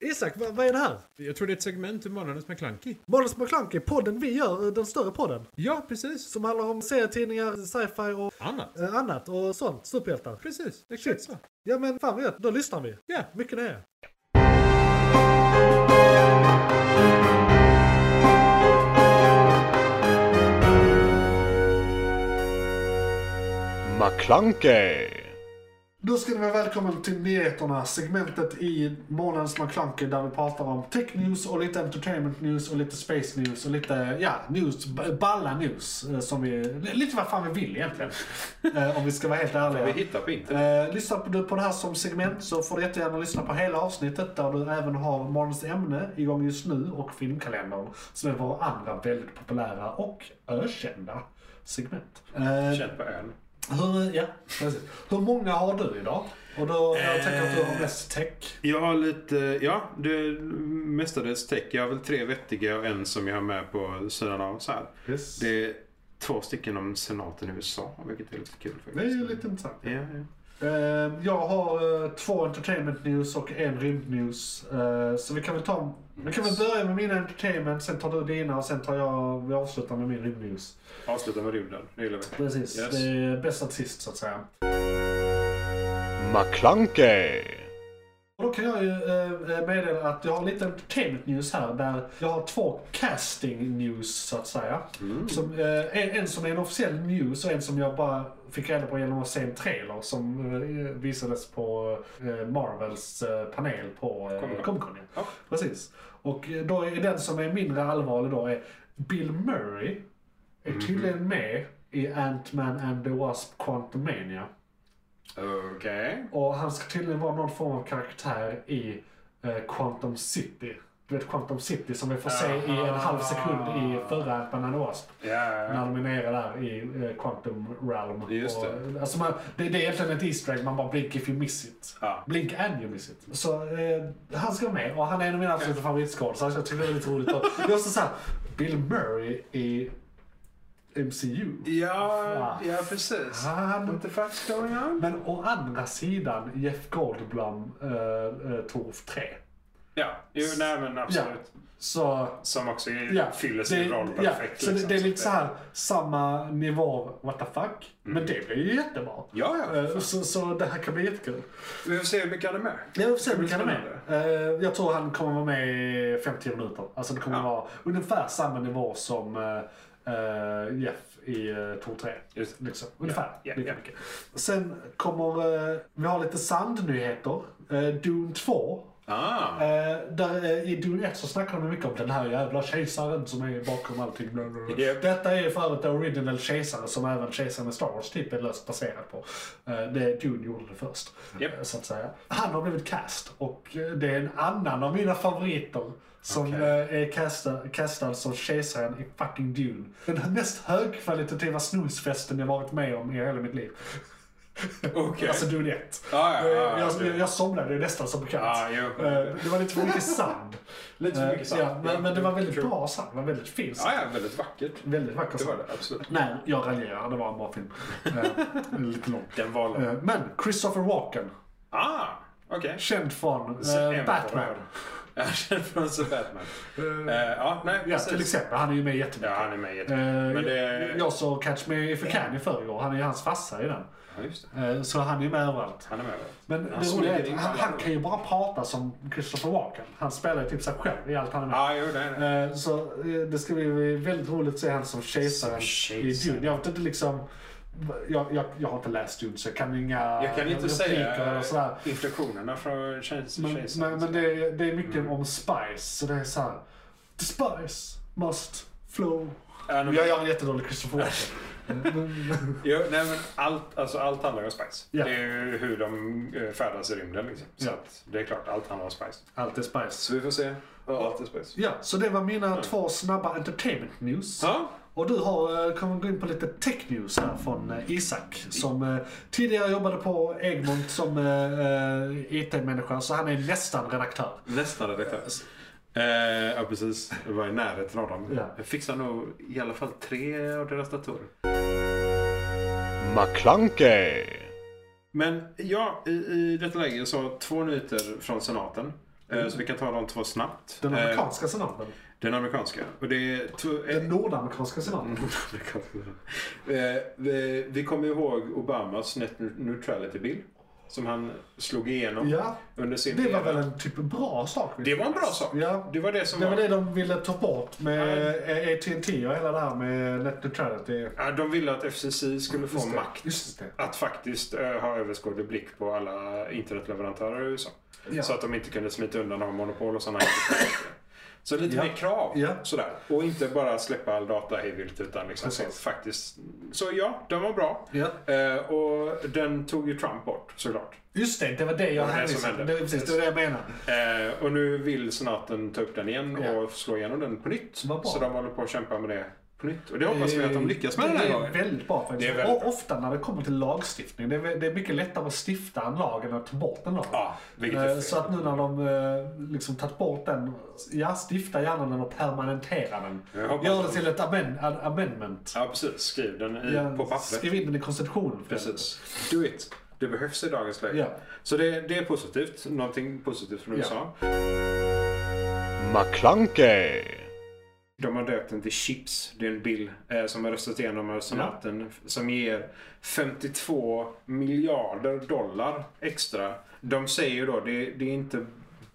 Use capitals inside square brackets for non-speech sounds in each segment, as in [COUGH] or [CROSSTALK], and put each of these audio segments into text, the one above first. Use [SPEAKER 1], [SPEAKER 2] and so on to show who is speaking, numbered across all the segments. [SPEAKER 1] Isak, vad, vad är det här?
[SPEAKER 2] Jag tror det är ett segment ur Månadens McKlunky.
[SPEAKER 1] Månadens McKlunky, podden vi gör, eh, den större podden.
[SPEAKER 2] Ja, precis.
[SPEAKER 1] Som handlar om serietidningar, sci-fi och
[SPEAKER 2] Annat.
[SPEAKER 1] eh, annat och sånt. Superhjältar.
[SPEAKER 2] Precis, exakt så.
[SPEAKER 1] Ja men fan vad gött, då lyssnar vi.
[SPEAKER 2] Ja.
[SPEAKER 1] Mycket nöje.
[SPEAKER 3] McClunkey!
[SPEAKER 1] Då ska ni vara välkommen till nyheterna, segmentet i månadens McClunky där vi pratar om tech news och lite entertainment news och lite space news och lite, ja, news, b- balla news. eh, Som vi, lite vad fan vi vill
[SPEAKER 4] [LAUGHS]
[SPEAKER 1] egentligen. Eh, om vi ska vara helt ärliga.
[SPEAKER 4] Vi hittar på internet.
[SPEAKER 1] Eh, lyssnar du på det här som segment så får du jättegärna lyssna på hela avsnittet där du även har morgonens ämne igång just nu och filmkalendern som är våra andra väldigt populära och ökända segment. Eh,
[SPEAKER 4] Känn på ön.
[SPEAKER 1] hur, ja, precis. hur många har du idag? Och då, jag tänker att du har mest tech.
[SPEAKER 4] Jag har lite, ja, det är mestadels tech. Jag har väl tre vettiga och en som jag har med på sidan av så här.
[SPEAKER 1] Yes. Det,
[SPEAKER 4] Det är två stycken om senaten i USA, vilket är lite kul faktiskt.
[SPEAKER 1] är ju lite intressant.
[SPEAKER 4] Ja, ja.
[SPEAKER 1] Eh, jag har eh, två entertainment news och en rymd news. Eh, så vi kan väl ta, vi kan väl börja med mina entertainment, sen tar du dina och sen tar jag, vi avslutar med min rymd news.
[SPEAKER 4] Avsluta med rymden, det gillar vi.
[SPEAKER 1] Precis,
[SPEAKER 4] Yes.
[SPEAKER 1] det är bäst att sist så att säga.
[SPEAKER 3] McClunkey!
[SPEAKER 1] Och då kan jag ju eh, meddela att jag har lite entertainment news här där jag har två casting news så att säga.
[SPEAKER 4] Mm.
[SPEAKER 1] Som, eh, en, en som är en officiell news och en som jag bara fick reda på genom att se en trailer som eh, visades på eh, Marvels eh, panel på eh,
[SPEAKER 4] Comic-Con.
[SPEAKER 1] Comic Con.
[SPEAKER 4] Ja.
[SPEAKER 1] Precis. Och eh, då är den som är mindre allvarlig då är Bill Murray
[SPEAKER 4] Mhm.
[SPEAKER 1] är tydligen med i Ant-Man and the Wasp Quantumania.
[SPEAKER 4] Okej.
[SPEAKER 1] Och han ska tydligen vara någon form av karaktär i eh, Quantum City. Du vet Quantum City som vi får se i en halv sekund i förra Ant-Man and the Wasp.
[SPEAKER 4] Ja,
[SPEAKER 1] När
[SPEAKER 4] ja.
[SPEAKER 1] de är nere där i eh, Quantum Realm.
[SPEAKER 4] Just
[SPEAKER 1] Och, alltså man, det, det är egentligen ett Easter egg, man bara blink if you miss it.
[SPEAKER 4] Ja.
[SPEAKER 1] Blink and you miss it. Så eh, han ska vara med och han är en av mina absoluta favoritskådisar så jag tycker det är lite roligt. Och det är också såhär, Bill Murray i MCU.
[SPEAKER 4] Ja, ja precis.
[SPEAKER 1] Han
[SPEAKER 4] What the fuck's going on?
[SPEAKER 1] men å andra sidan Jeff Goldblum, uh, Torf 3.
[SPEAKER 4] Ja, jo, nej men absolut.
[SPEAKER 1] Så...
[SPEAKER 4] Som också
[SPEAKER 1] Ja,
[SPEAKER 4] fyller sin
[SPEAKER 1] det-
[SPEAKER 4] roll
[SPEAKER 1] ja,
[SPEAKER 4] perfekt. liksom.
[SPEAKER 1] så det, det är lite så
[SPEAKER 4] här.
[SPEAKER 1] här samma nivå, what the fuck. Men det blir ju jättebra.
[SPEAKER 4] Mm. Ja, ja.
[SPEAKER 1] Eh, så, så det här kan bli jättekul.
[SPEAKER 4] Vi får se hur mycket han är med.
[SPEAKER 1] Jag får se om vi kan ha med.
[SPEAKER 4] spännande.
[SPEAKER 1] Eh, jag tror han kommer vara med i 50 minuter. Alltså det kommer
[SPEAKER 4] Ja.
[SPEAKER 1] vara ungefär samma nivå som eh, eh, Jeff i uh, Tor 3.
[SPEAKER 4] Just det.
[SPEAKER 1] Liksom. Ungefär
[SPEAKER 4] ja,
[SPEAKER 1] lika
[SPEAKER 4] ja.
[SPEAKER 1] mycket. Sen kommer, eh, vi har lite sandnyheter. Uh, Dune 2.
[SPEAKER 4] Ah.
[SPEAKER 1] Eh, där, eh, I Dune 1 så snackar de mycket om den här jävla kejsaren som är bakom allting. Bla, bla, bla.
[SPEAKER 4] Japp.
[SPEAKER 1] Detta är ju för övrigt the original kejsare som även kejsaren i Star Wars typ är löst baserad på. Eh, det Dune gjorde det först.
[SPEAKER 4] Japp.
[SPEAKER 1] eh, Så att säga. Han har blivit cast och eh, det är en annan av mina favoriter som
[SPEAKER 4] Okej.
[SPEAKER 1] eh, är castad, castad som kejsaren i fucking Dune. Den mest högkvalitativa snusfesten jag varit med om i hela mitt liv.
[SPEAKER 4] Okej.
[SPEAKER 1] Alltså Dune 1.
[SPEAKER 4] Ja, ja, ja,
[SPEAKER 1] jag,
[SPEAKER 4] ja.
[SPEAKER 1] jag, jag somnade ju nästan som bekant.
[SPEAKER 4] Ja, jo.
[SPEAKER 1] Eh, det var lite för mycket sand.
[SPEAKER 4] [LAUGHS] Lite för mycket
[SPEAKER 1] Eh,
[SPEAKER 4] sand.
[SPEAKER 1] Ja, men, men det var väldigt
[SPEAKER 4] True.
[SPEAKER 1] bra sand. Det var väldigt fin sand.
[SPEAKER 4] Ja, ja, väldigt vackert.
[SPEAKER 1] Väldigt vacker
[SPEAKER 4] Det var
[SPEAKER 1] sand.
[SPEAKER 4] det, absolut.
[SPEAKER 1] Nej, jag raljerar. Det var en bra film. Eh, [LAUGHS] lite lång.
[SPEAKER 4] Den var...
[SPEAKER 1] Eh, men Christopher Walken.
[SPEAKER 4] Ah, okej.
[SPEAKER 1] Känd från
[SPEAKER 4] Så
[SPEAKER 1] eh,
[SPEAKER 4] en
[SPEAKER 1] Batman.
[SPEAKER 4] för- Ja, känd från The Batman. Eh, ja, nej,
[SPEAKER 1] Ja,
[SPEAKER 4] precis.
[SPEAKER 1] till exempel. Han är ju med jättemycket.
[SPEAKER 4] Ja, han är med jättebra.
[SPEAKER 1] Eh,
[SPEAKER 4] Men det...
[SPEAKER 1] Jag såg Catch Me If You Can i förrgår. Han är ju hans farsa i den.
[SPEAKER 4] Ja, just det.
[SPEAKER 1] Eh, Så han är ju med överallt.
[SPEAKER 4] Han är med. va?
[SPEAKER 1] Men det
[SPEAKER 4] han
[SPEAKER 1] roliga
[SPEAKER 4] smyger
[SPEAKER 1] är
[SPEAKER 4] in
[SPEAKER 1] att han,
[SPEAKER 4] alla.
[SPEAKER 1] han kan ju bara prata som Christopher Walken. Han spelar ju typ sig själv i allt han är med
[SPEAKER 4] Ja, jo, nej, nej.
[SPEAKER 1] Eh, Så eh, det ska bli väldigt roligt att se han som kejsaren
[SPEAKER 4] Som
[SPEAKER 1] i
[SPEAKER 4] kejsaren.
[SPEAKER 1] Dune. Jag vet inte liksom... Jag, jag, jag har inte läst Dune så jag kan inga
[SPEAKER 4] Jag kan inte
[SPEAKER 1] repliker
[SPEAKER 4] säga
[SPEAKER 1] och sådär.
[SPEAKER 4] eh, inflektionerna från tjej-
[SPEAKER 1] Men, men,
[SPEAKER 4] kejsaren. Mm.
[SPEAKER 1] men det, är- det är mycket om spice, så det är så här. The spice must flow.
[SPEAKER 4] Ja, nej,
[SPEAKER 1] Jag gör en jättedålig Christopher
[SPEAKER 4] [LAUGHS]
[SPEAKER 1] Walken.
[SPEAKER 4] Jo, nej, men allt, alltså, allt handlar ju om spice.
[SPEAKER 1] Ja.
[SPEAKER 4] Det är ju hur de eh, färdas i rymden. Liksom. Så
[SPEAKER 1] Ja.
[SPEAKER 4] att det är klart, allt handlar om spice.
[SPEAKER 1] Allt är spice.
[SPEAKER 4] Så vi får se. Ja, allt är spice.
[SPEAKER 1] Ja, så det var mina två snabba entertainment news.
[SPEAKER 4] Ja,
[SPEAKER 1] Och du har, eh, kommer gå in på lite tech news här från eh, Isak som eh, tidigare jobbade på Egmont som eh, eh, IT-människa så han är nästan redaktör.
[SPEAKER 4] Nästan redaktör.
[SPEAKER 1] Alltså.
[SPEAKER 4] Eh, ja, precis. Det var i närheten av dem.
[SPEAKER 1] Ja.
[SPEAKER 4] Jag fixar nog i alla fall tre av deras datorer.
[SPEAKER 3] McClunkey!
[SPEAKER 4] Men ja, i, i detta läge så har jag två nyheter från senaten. Eh, Så vi kan ta de två snabbt.
[SPEAKER 1] Mm. Den
[SPEAKER 4] Eh,
[SPEAKER 1] amerikanska senaten.
[SPEAKER 4] Den amerikanska. Och det är tw- eh,
[SPEAKER 1] Den nordamerikanska senaten.
[SPEAKER 4] amerikanska. [LAUGHS] Eh, vi, vi kommer ihåg Obamas net neutrality bill. Som han slog igenom
[SPEAKER 1] Ja.
[SPEAKER 4] under sin
[SPEAKER 1] Det var
[SPEAKER 4] era.
[SPEAKER 1] väl en typ bra sak?
[SPEAKER 4] Mm. Det var en bra sak.
[SPEAKER 1] Ja.
[SPEAKER 4] Det var det som
[SPEAKER 1] Det
[SPEAKER 4] var...
[SPEAKER 1] var det de ville ta bort med
[SPEAKER 4] Nej.
[SPEAKER 1] eh, AT&T och hela det här med net neutrality.
[SPEAKER 4] Ja, de ville att FCC skulle få
[SPEAKER 1] Just det.
[SPEAKER 4] makt
[SPEAKER 1] Just det.
[SPEAKER 4] att faktiskt eh, ha överskådlig blick på alla internetleverantörer i USA.
[SPEAKER 1] Ja.
[SPEAKER 4] Så att de inte kunde smita undan av monopol och sådana grejer. Så lite
[SPEAKER 1] Ja.
[SPEAKER 4] mer krav.
[SPEAKER 1] Ja.
[SPEAKER 4] Sådär. Och inte bara släppa all data hej vilt utan liksom så,
[SPEAKER 1] Precis.
[SPEAKER 4] faktiskt. Så ja, den var bra.
[SPEAKER 1] Ja.
[SPEAKER 4] Eh, och den tog ju Trump bort såklart.
[SPEAKER 1] Just det, det var det jag
[SPEAKER 4] Det var det som
[SPEAKER 1] hänvisade
[SPEAKER 4] hände.
[SPEAKER 1] det, precis, det var det jag menade.
[SPEAKER 4] Eh, och nu vill senaten ta upp den igen
[SPEAKER 1] Ja.
[SPEAKER 4] och slå igenom den på nytt.
[SPEAKER 1] Vad bra. Eh,
[SPEAKER 4] Så de håller på att kämpa med det på nytt. Och det hoppas vi att de lyckas med den här
[SPEAKER 1] Det är
[SPEAKER 4] gången.
[SPEAKER 1] väldigt bra faktiskt.
[SPEAKER 4] Det är väldigt
[SPEAKER 1] och ofta när det kommer till lagstiftning. Det är, det är mycket lättare att stifta en lag än att ta bort en lag.
[SPEAKER 4] Ja, vilket
[SPEAKER 1] Eh,
[SPEAKER 4] är fel.
[SPEAKER 1] Så att nu när de eh, liksom tagit bort den, ja stifta gärna den och permanentera den.
[SPEAKER 4] Jag hoppas
[SPEAKER 1] Gör det
[SPEAKER 4] det.
[SPEAKER 1] till ett amen, an- amendment.
[SPEAKER 4] Ja, precis. Skriv den i,
[SPEAKER 1] Ja,
[SPEAKER 4] på pappret.
[SPEAKER 1] Skriv in den i konstitutionen. för
[SPEAKER 4] Precis. Do it. Det behövs i dagens läge.
[SPEAKER 1] Ja.
[SPEAKER 4] Så det, det är positivt. Någonting positivt från
[SPEAKER 1] Ja.
[SPEAKER 4] USA.
[SPEAKER 3] McClunkey.
[SPEAKER 4] De har döpt den till Chips. Det är en bill eh, som har röstat igenom av senaten som ger 52 miljarder dollar extra. De säger ju då det, det är inte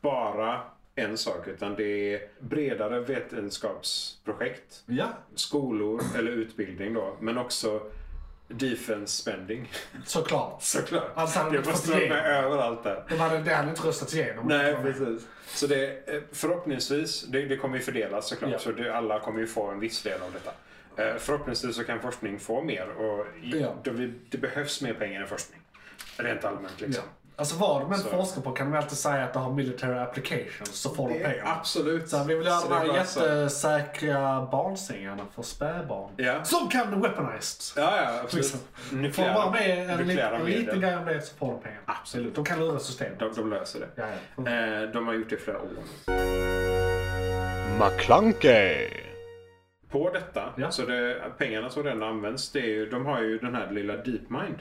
[SPEAKER 4] bara en sak utan det är bredare vetenskapsprojekt.
[SPEAKER 1] det. Ja,
[SPEAKER 4] Skolor eller utbildning då. Men också defense spending. [LAUGHS]
[SPEAKER 1] såklart.
[SPEAKER 4] Såklart.
[SPEAKER 1] Alltså, han
[SPEAKER 4] det måste
[SPEAKER 1] fått
[SPEAKER 4] vara
[SPEAKER 1] igenom.
[SPEAKER 4] med överallt där.
[SPEAKER 1] De hade, det hade inte röstats igenom.
[SPEAKER 4] Nej, precis. Så det, eh, förhoppningsvis, det, det kommer ju fördelas såklart,
[SPEAKER 1] Ja.
[SPEAKER 4] så det, alla kommer ju få en viss del av detta. Eh, Förhoppningsvis så kan forskning få mer och i,
[SPEAKER 1] Ja.
[SPEAKER 4] då vi, det behövs mer pengar i forskning. Rent allmänt
[SPEAKER 1] Ja.
[SPEAKER 4] liksom.
[SPEAKER 1] Alltså vad de än
[SPEAKER 4] Så.
[SPEAKER 1] forskar på kan de alltid säga att det har military applications så får de
[SPEAKER 4] Det är
[SPEAKER 1] pengar.
[SPEAKER 4] absolut.
[SPEAKER 1] Så här, vi vill ha
[SPEAKER 4] Eh, Så
[SPEAKER 1] de
[SPEAKER 4] det är
[SPEAKER 1] här
[SPEAKER 4] bara så-
[SPEAKER 1] jättesäkra barnsängarna för spädbarn.
[SPEAKER 4] Ja.
[SPEAKER 1] Som kan weaponized.
[SPEAKER 4] Ja, ja, absolut.
[SPEAKER 1] Liksom. Får de
[SPEAKER 4] Nukleära,
[SPEAKER 1] bara med en
[SPEAKER 4] nukleära
[SPEAKER 1] liten, liten
[SPEAKER 4] medel.
[SPEAKER 1] grej om det så får de pengar.
[SPEAKER 4] Absolut.
[SPEAKER 1] De kan lura systemet.
[SPEAKER 4] De, de löser det.
[SPEAKER 1] Ja, ja.
[SPEAKER 4] Eh, De har gjort det i flera år.
[SPEAKER 3] McClunkey.
[SPEAKER 4] På detta,
[SPEAKER 1] Ja.
[SPEAKER 4] så det, pengarna som redan används, det är ju, de har ju den här lilla DeepMind.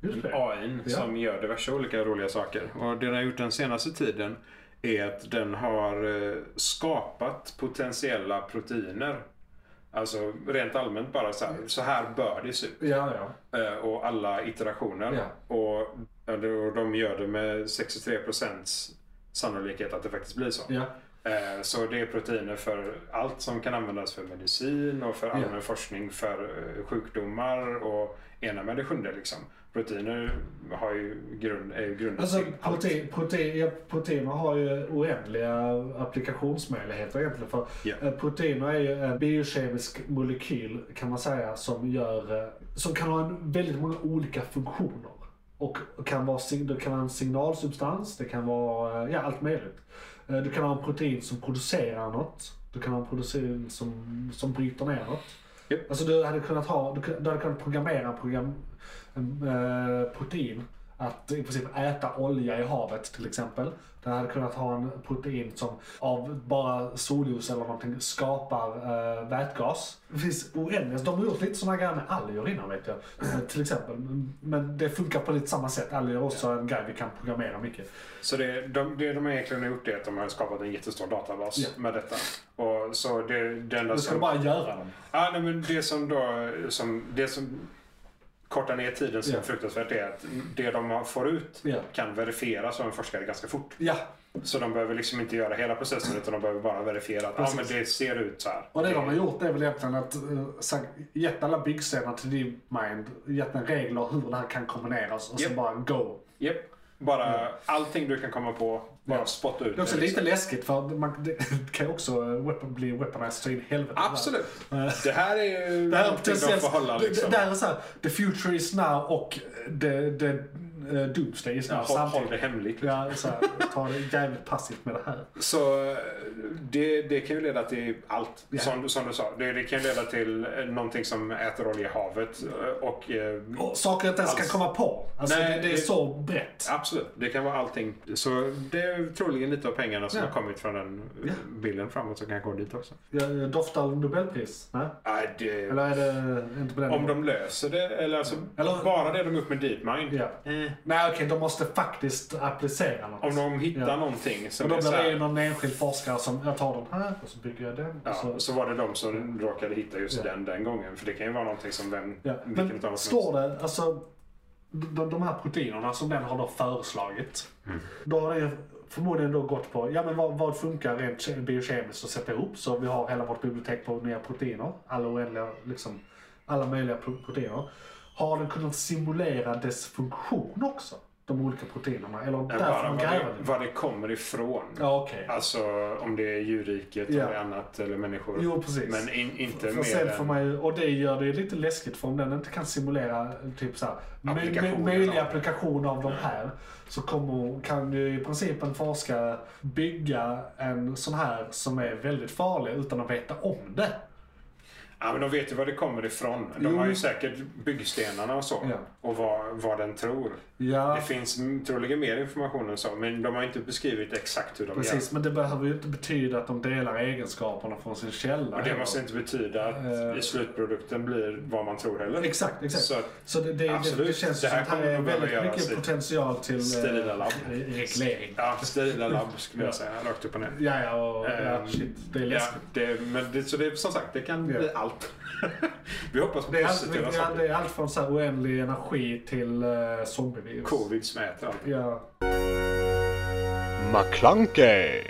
[SPEAKER 1] Just det.
[SPEAKER 4] AI
[SPEAKER 1] Ja.
[SPEAKER 4] som gör diverse olika roliga saker. Och det den har gjort den senaste tiden är att den har eh, skapat potentiella proteiner. Alltså rent allmänt bara så här, så här bör det se ut.
[SPEAKER 1] Ja, ja.
[SPEAKER 4] Eh, Och alla iterationer.
[SPEAKER 1] Ja.
[SPEAKER 4] Och, och de gör det med 63% sannolikhet att det faktiskt blir så.
[SPEAKER 1] ja.
[SPEAKER 4] Eh, Så det är proteiner för allt som kan användas för medicin och för allmän forskning för eh, sjukdomar och ena med det sjunde liksom. Proteiner har ju grund, är ju grundat
[SPEAKER 1] Alltså,
[SPEAKER 4] till allt.
[SPEAKER 1] protein, protein, ja, proteiner har ju oändliga applikationsmöjligheter egentligen. För
[SPEAKER 4] Ja.
[SPEAKER 1] eh, Proteiner är ju en biokemisk molekyl kan man säga som, gör, eh, som kan ha en väldigt många olika funktioner. Och kan vara, sig- det kan vara en signalsubstans, det kan vara eh, ja, allt möjligt. Eh, Du kan ha en protein som producerar något. Du kan ha en protein som, som bryter ner något.
[SPEAKER 4] Japp.
[SPEAKER 1] Alltså du hade kunnat ha, du, kun- du hade kunnat programmera en program, en, eh, protein att i princip äta olja i havet till exempel. Den hade kunnat ha en protein som av bara solljus eller någonting skapar eh, vätgas. Det finns oändligt. De har gjort lite sådana grejer med alger innan vet jag. eh, till exempel. Men det funkar på lite samma sätt. Alger är också en grej vi kan programmera mycket.
[SPEAKER 4] Så det de, det de egentligen har gjort är att de har skapat en jättestor databas
[SPEAKER 1] Ja.
[SPEAKER 4] med detta. Och så det, det enda
[SPEAKER 1] Då ska du
[SPEAKER 4] som...
[SPEAKER 1] bara göra dem.
[SPEAKER 4] Ja, nej, men det som då... Som, det som kortar ner tiden så
[SPEAKER 1] Ja.
[SPEAKER 4] fruktansvärt är att det de får ut
[SPEAKER 1] Ja.
[SPEAKER 4] kan verifieras av en forskare ganska fort.
[SPEAKER 1] Ja.
[SPEAKER 4] Så de behöver liksom inte göra hela processen utan de behöver bara verifiera att ah,
[SPEAKER 1] Precis.
[SPEAKER 4] men det ser ut så här.
[SPEAKER 1] Och det de har gjort är väl egentligen att uh, gett alla byggstenar till DeepMind, gett en regler hur det här kan kombineras och sen
[SPEAKER 4] Japp.
[SPEAKER 1] bara go.
[SPEAKER 4] Japp. Bara allting du kan komma på, bara
[SPEAKER 1] Ja.
[SPEAKER 4] spotta ut
[SPEAKER 1] Det är också
[SPEAKER 4] liksom.
[SPEAKER 1] lite läskigt för man, det [LAUGHS] kan ju också eh, weapon, bli weaponized så in i helvete.
[SPEAKER 4] Absolut.
[SPEAKER 1] Eh,
[SPEAKER 4] Det här är ju
[SPEAKER 1] Det här är
[SPEAKER 4] någonting de
[SPEAKER 1] potentiellt...
[SPEAKER 4] får hålla
[SPEAKER 1] det-
[SPEAKER 4] liksom.
[SPEAKER 1] Det här är såhär, the future is now och the, the eh, doomsday is
[SPEAKER 4] Ja,
[SPEAKER 1] now
[SPEAKER 4] håll- håll det
[SPEAKER 1] samtidigt.
[SPEAKER 4] hemligt.
[SPEAKER 1] Ja, så här, ta det jävligt passivt med det här.
[SPEAKER 4] Så eh, det, det kan ju leda till allt,
[SPEAKER 1] Ja.
[SPEAKER 4] som, som du sa. Det, det kan ju leda till eh, någonting som äter olja i havet. eh, Och, eh,
[SPEAKER 1] Och saker jag inte ens
[SPEAKER 4] Alltså-
[SPEAKER 1] kan komma på. Alltså,
[SPEAKER 4] Nej,
[SPEAKER 1] det, det är
[SPEAKER 4] det-
[SPEAKER 1] så brett.
[SPEAKER 4] Absolut, det kan vara allting. Så det är troligen lite av pengarna som
[SPEAKER 1] Ja.
[SPEAKER 4] har kommit från den eh,
[SPEAKER 1] Ja.
[SPEAKER 4] bilden framåt som kan gå dit också.
[SPEAKER 1] Jag jag doftar Nobelpris? Nej?
[SPEAKER 4] Nej, det,
[SPEAKER 1] Eller är det inte på den
[SPEAKER 4] Om de löser det, eller alltså
[SPEAKER 1] Eller-
[SPEAKER 4] bara det de upp med DeepMind.
[SPEAKER 1] Ja.
[SPEAKER 4] Eh,
[SPEAKER 1] Nej okej, de måste faktiskt applicera något.
[SPEAKER 4] Om de hittar
[SPEAKER 1] Ja.
[SPEAKER 4] någonting
[SPEAKER 1] och
[SPEAKER 4] som
[SPEAKER 1] då
[SPEAKER 4] är
[SPEAKER 1] blir
[SPEAKER 4] så
[SPEAKER 1] det ju
[SPEAKER 4] här,
[SPEAKER 1] någon enskild forskare som, jag tar den här och så bygger jag den.
[SPEAKER 4] ja,
[SPEAKER 1] och så,
[SPEAKER 4] så, så var det de som råkade hitta just
[SPEAKER 1] alltså- Ja.
[SPEAKER 4] den den gången. För det kan ju vara någonting som vem,
[SPEAKER 1] ja.
[SPEAKER 4] vilken
[SPEAKER 1] Men
[SPEAKER 4] utav oss som helst.
[SPEAKER 1] står det, alltså de, de här proteinerna som den har då föreslagit.
[SPEAKER 4] Mm.
[SPEAKER 1] Då har det ju förmodligen då gått på, ja men vad, vad funkar rent ke- biokemiskt att sätta ihop? Så vi har hela vårt bibliotek på nya proteiner. Alla oändliga, liksom, alla möjliga pro- proteiner. Har den kunnat simulera dess funktion också? De olika proteinerna? Eller
[SPEAKER 4] Men
[SPEAKER 1] därför
[SPEAKER 4] Bara
[SPEAKER 1] de
[SPEAKER 4] var
[SPEAKER 1] gräver
[SPEAKER 4] det,
[SPEAKER 1] det?
[SPEAKER 4] var det kommer ifrån.
[SPEAKER 1] Ja okej.
[SPEAKER 4] Alltså om det är djurriket,
[SPEAKER 1] Ja.
[SPEAKER 4] om det är annat eller människor.
[SPEAKER 1] Jo precis.
[SPEAKER 4] Men in, inte
[SPEAKER 1] För sen får
[SPEAKER 4] mer än...
[SPEAKER 1] man ju, och det gör det ju lite läskigt för om den inte kan simulera typ så här, mö-
[SPEAKER 4] Applikationer.
[SPEAKER 1] mö- möjliga applikationer av de här så kommer, kan ju i princip en forskare bygga en sån här som är väldigt farlig utan att veta om det.
[SPEAKER 4] Ja, men de vet ju var det kommer ifrån. De
[SPEAKER 1] Jo.
[SPEAKER 4] har ju säkert byggstenarna och så.
[SPEAKER 1] Ja.
[SPEAKER 4] Och vad, vad den tror.
[SPEAKER 1] Ja,
[SPEAKER 4] Det finns m- troligen mer information än så. Men de har inte beskrivit exakt hur de
[SPEAKER 1] precis.
[SPEAKER 4] gör.
[SPEAKER 1] Men det behöver ju inte betyda att de delar egenskaperna från sin källa.
[SPEAKER 4] Och det
[SPEAKER 1] heller.
[SPEAKER 4] måste inte betyda att
[SPEAKER 1] Eh.
[SPEAKER 4] i slutprodukten blir vad man tror heller.
[SPEAKER 1] Exakt, exakt.
[SPEAKER 4] Så
[SPEAKER 1] Så,
[SPEAKER 4] att-
[SPEAKER 1] det, det, det, det
[SPEAKER 4] Absolut.
[SPEAKER 1] känns
[SPEAKER 4] Det
[SPEAKER 1] som
[SPEAKER 4] här
[SPEAKER 1] att här
[SPEAKER 4] kommer
[SPEAKER 1] är
[SPEAKER 4] nog behöva
[SPEAKER 1] väldigt
[SPEAKER 4] göras
[SPEAKER 1] mycket
[SPEAKER 4] i
[SPEAKER 1] potential till eh,
[SPEAKER 4] sterila labb.
[SPEAKER 1] re- reglering.
[SPEAKER 4] Ja, sterila labb skulle jag säga. Rakt upp och ner.
[SPEAKER 1] Ja, ja, och, ja,
[SPEAKER 4] Ehm,
[SPEAKER 1] shit. Det är
[SPEAKER 4] Ja,
[SPEAKER 1] läskigt.
[SPEAKER 4] det, men det, så det, som sagt, det kan
[SPEAKER 1] Ja.
[SPEAKER 4] bli allt. [LAUGHS] Vi hoppas på
[SPEAKER 1] Det är, allt,
[SPEAKER 4] positiva
[SPEAKER 1] ja,
[SPEAKER 4] saker.
[SPEAKER 1] det är allt från så här oändlig energi till uh, zombievirus.
[SPEAKER 4] Covid som äter allt.
[SPEAKER 1] Ja.
[SPEAKER 3] McClunkey.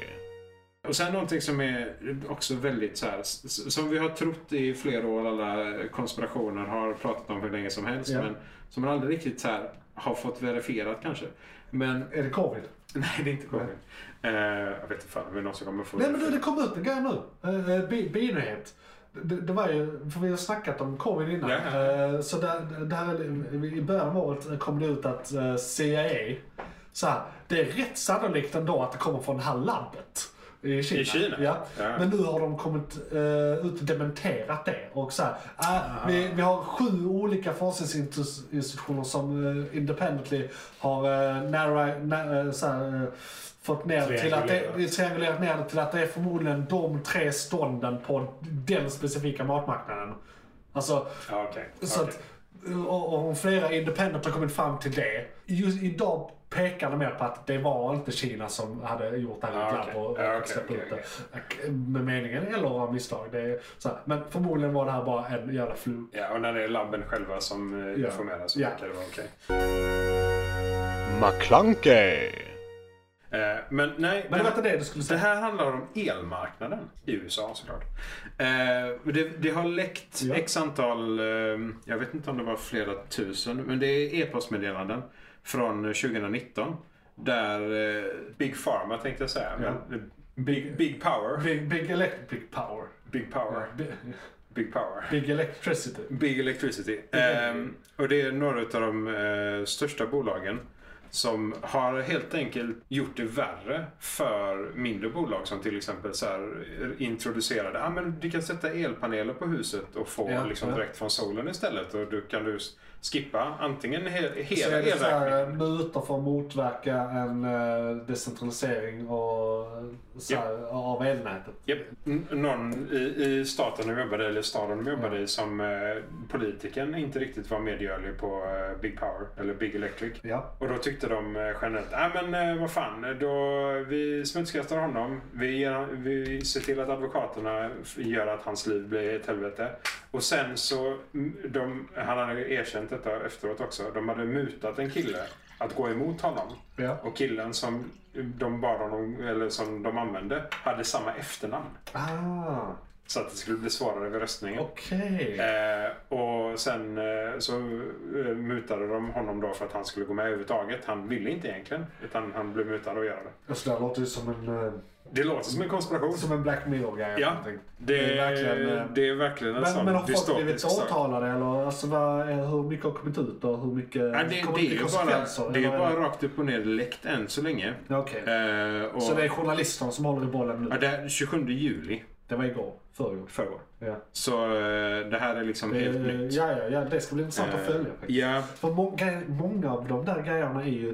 [SPEAKER 4] Och sen någonting som är också väldigt så här, s- s- som vi har trott i flera år, alla konspirationer har pratat om hur länge som helst,
[SPEAKER 1] Ja.
[SPEAKER 4] men som man aldrig riktigt så här, har fått verifierat kanske. Men
[SPEAKER 1] Är det covid? [LAUGHS]
[SPEAKER 4] nej, det är inte covid. Eh, jag vet inte fan om det är någon som kommer få
[SPEAKER 1] Nej men du, det kom ut en grej nu. Uh, bi- binyhet. Det, det var ju, för vi har snackat om covid innan.
[SPEAKER 4] Ja.
[SPEAKER 1] Eh, så där, där, i början av året kom det ut att eh, CIA, så här, det är rätt sannolikt ändå att det kommer från det här labbet. I Kina.
[SPEAKER 4] I Kina?
[SPEAKER 1] Ja.
[SPEAKER 4] Ja.
[SPEAKER 1] Men nu har de kommit eh, ut och dementerat det. Och så här, ah, vi, vi har sju olika forskningsinstitutioner som eh, independently har eh, narrow, na, eh, så här, eh, fått ner till att det,
[SPEAKER 4] Triangulerat.
[SPEAKER 1] vi har triangulerat ner det till att det är förmodligen de tre stånden på den specifika matmarknaden. Alltså,
[SPEAKER 4] Ja, okej.
[SPEAKER 1] så
[SPEAKER 4] Okej.
[SPEAKER 1] att, och, och om flera independent har kommit fram till det. Just idag pekar de mer på att det var inte Kina som hade gjort det här
[SPEAKER 4] Ja,
[SPEAKER 1] ah,
[SPEAKER 4] okej.
[SPEAKER 1] och, och
[SPEAKER 4] Ja, okej,
[SPEAKER 1] släppt
[SPEAKER 4] okej,
[SPEAKER 1] ut det. Med meningen eller av misstag. Det är, så här. Men förmodligen var det här bara en jävla flug.
[SPEAKER 4] Ja, och när det är labben själva som eh,
[SPEAKER 1] Ja.
[SPEAKER 4] informerar så
[SPEAKER 1] Ja.
[SPEAKER 4] verkar det vara okej.
[SPEAKER 3] McClunkey.
[SPEAKER 4] Eh, men nej,
[SPEAKER 1] Men det
[SPEAKER 4] den-
[SPEAKER 1] var inte det du skulle
[SPEAKER 4] Det
[SPEAKER 1] säga.
[SPEAKER 4] här handlar om elmarknaden i USA såklart. Eh, men det, det har läckt
[SPEAKER 1] Ja.
[SPEAKER 4] x antal, eh, jag vet inte om det var flera tusen, men det är e-postmeddelanden från 2019. Där eh, Big Pharma tänkte jag säga.
[SPEAKER 1] Ja.
[SPEAKER 4] Men, big, big Power.
[SPEAKER 1] Big, big electric big power.
[SPEAKER 4] Big Power.
[SPEAKER 1] Big,
[SPEAKER 4] Big Power.
[SPEAKER 1] big electricity.
[SPEAKER 4] Big Electricity. Ehm, och det är några av de eh, största bolagen som har helt enkelt gjort det värre för mindre bolag som till exempel så här eh, introducerade ah, men du kan sätta elpaneler på huset och få
[SPEAKER 1] Ja,
[SPEAKER 4] liksom
[SPEAKER 1] ja.
[SPEAKER 4] direkt från solen istället och du kan du skippa antingen he-
[SPEAKER 1] Så
[SPEAKER 4] hela
[SPEAKER 1] är det så
[SPEAKER 4] elräkningen.
[SPEAKER 1] här, eh, mutor för att motverka en eh, decentralisering och, eh, så här, av elnätet.
[SPEAKER 4] Japp. N- Någon i, i staten de jobbade eller staden de jobbade
[SPEAKER 1] Ja.
[SPEAKER 4] i som eh, politiken inte riktigt var medgörlig på eh, Big Power eller Big Electric.
[SPEAKER 1] Ja.
[SPEAKER 4] Och då tyckte de eh, generellt, nej men eh, vad fan, då, vi smutskastar honom. Vi, ger, vi ser till att advokaterna f- gör att hans liv blir ett helvete. Och sen så, mm, de, han hade ju erkänt detta efteråt också, de hade mutat en kille att gå emot honom.
[SPEAKER 1] ja.
[SPEAKER 4] Och killen som de, bad honom, eller som de använde hade samma efternamn.
[SPEAKER 1] Ah,
[SPEAKER 4] Så att det skulle bli svårare vid röstningen.
[SPEAKER 1] okej.
[SPEAKER 4] Eh, och sen eh, så eh, mutade de honom då för att han skulle gå med överhuvudtaget. Han ville inte egentligen, utan han blev mutad att göra det.
[SPEAKER 1] Alltså det här låter ju som en, eh,
[SPEAKER 4] Det låter som en konspiration.
[SPEAKER 1] som en Black Mirror-grej. eller
[SPEAKER 4] Ja,
[SPEAKER 1] någonting.
[SPEAKER 4] det,
[SPEAKER 1] Det är verkligen, eh,
[SPEAKER 4] det är verkligen en
[SPEAKER 1] Men,
[SPEAKER 4] sån
[SPEAKER 1] men har folk blivit
[SPEAKER 4] dystopisk sak.
[SPEAKER 1] åtalade eller alltså, vad, eh, hur mycket har kommit ut och hur mycket
[SPEAKER 4] Ja, det,
[SPEAKER 1] kommer
[SPEAKER 4] det är ju bara, det är ju
[SPEAKER 1] eller-
[SPEAKER 4] bara rakt upp och ner läckt än så länge.
[SPEAKER 1] Ja, okej.
[SPEAKER 4] Eh, och,
[SPEAKER 1] Så det är journalisterna som håller i bollen nu?
[SPEAKER 4] ja, det här, 27 juli
[SPEAKER 1] Det var igår, förrgår.
[SPEAKER 4] förrgår.
[SPEAKER 1] Ja.
[SPEAKER 4] Så eh, det här är liksom
[SPEAKER 1] Eh,
[SPEAKER 4] helt nytt.
[SPEAKER 1] ja, ja, ja, det ska bli intressant att
[SPEAKER 4] Eh,
[SPEAKER 1] följa. faktiskt.
[SPEAKER 4] Ja,
[SPEAKER 1] För många, många av de där grejerna är ju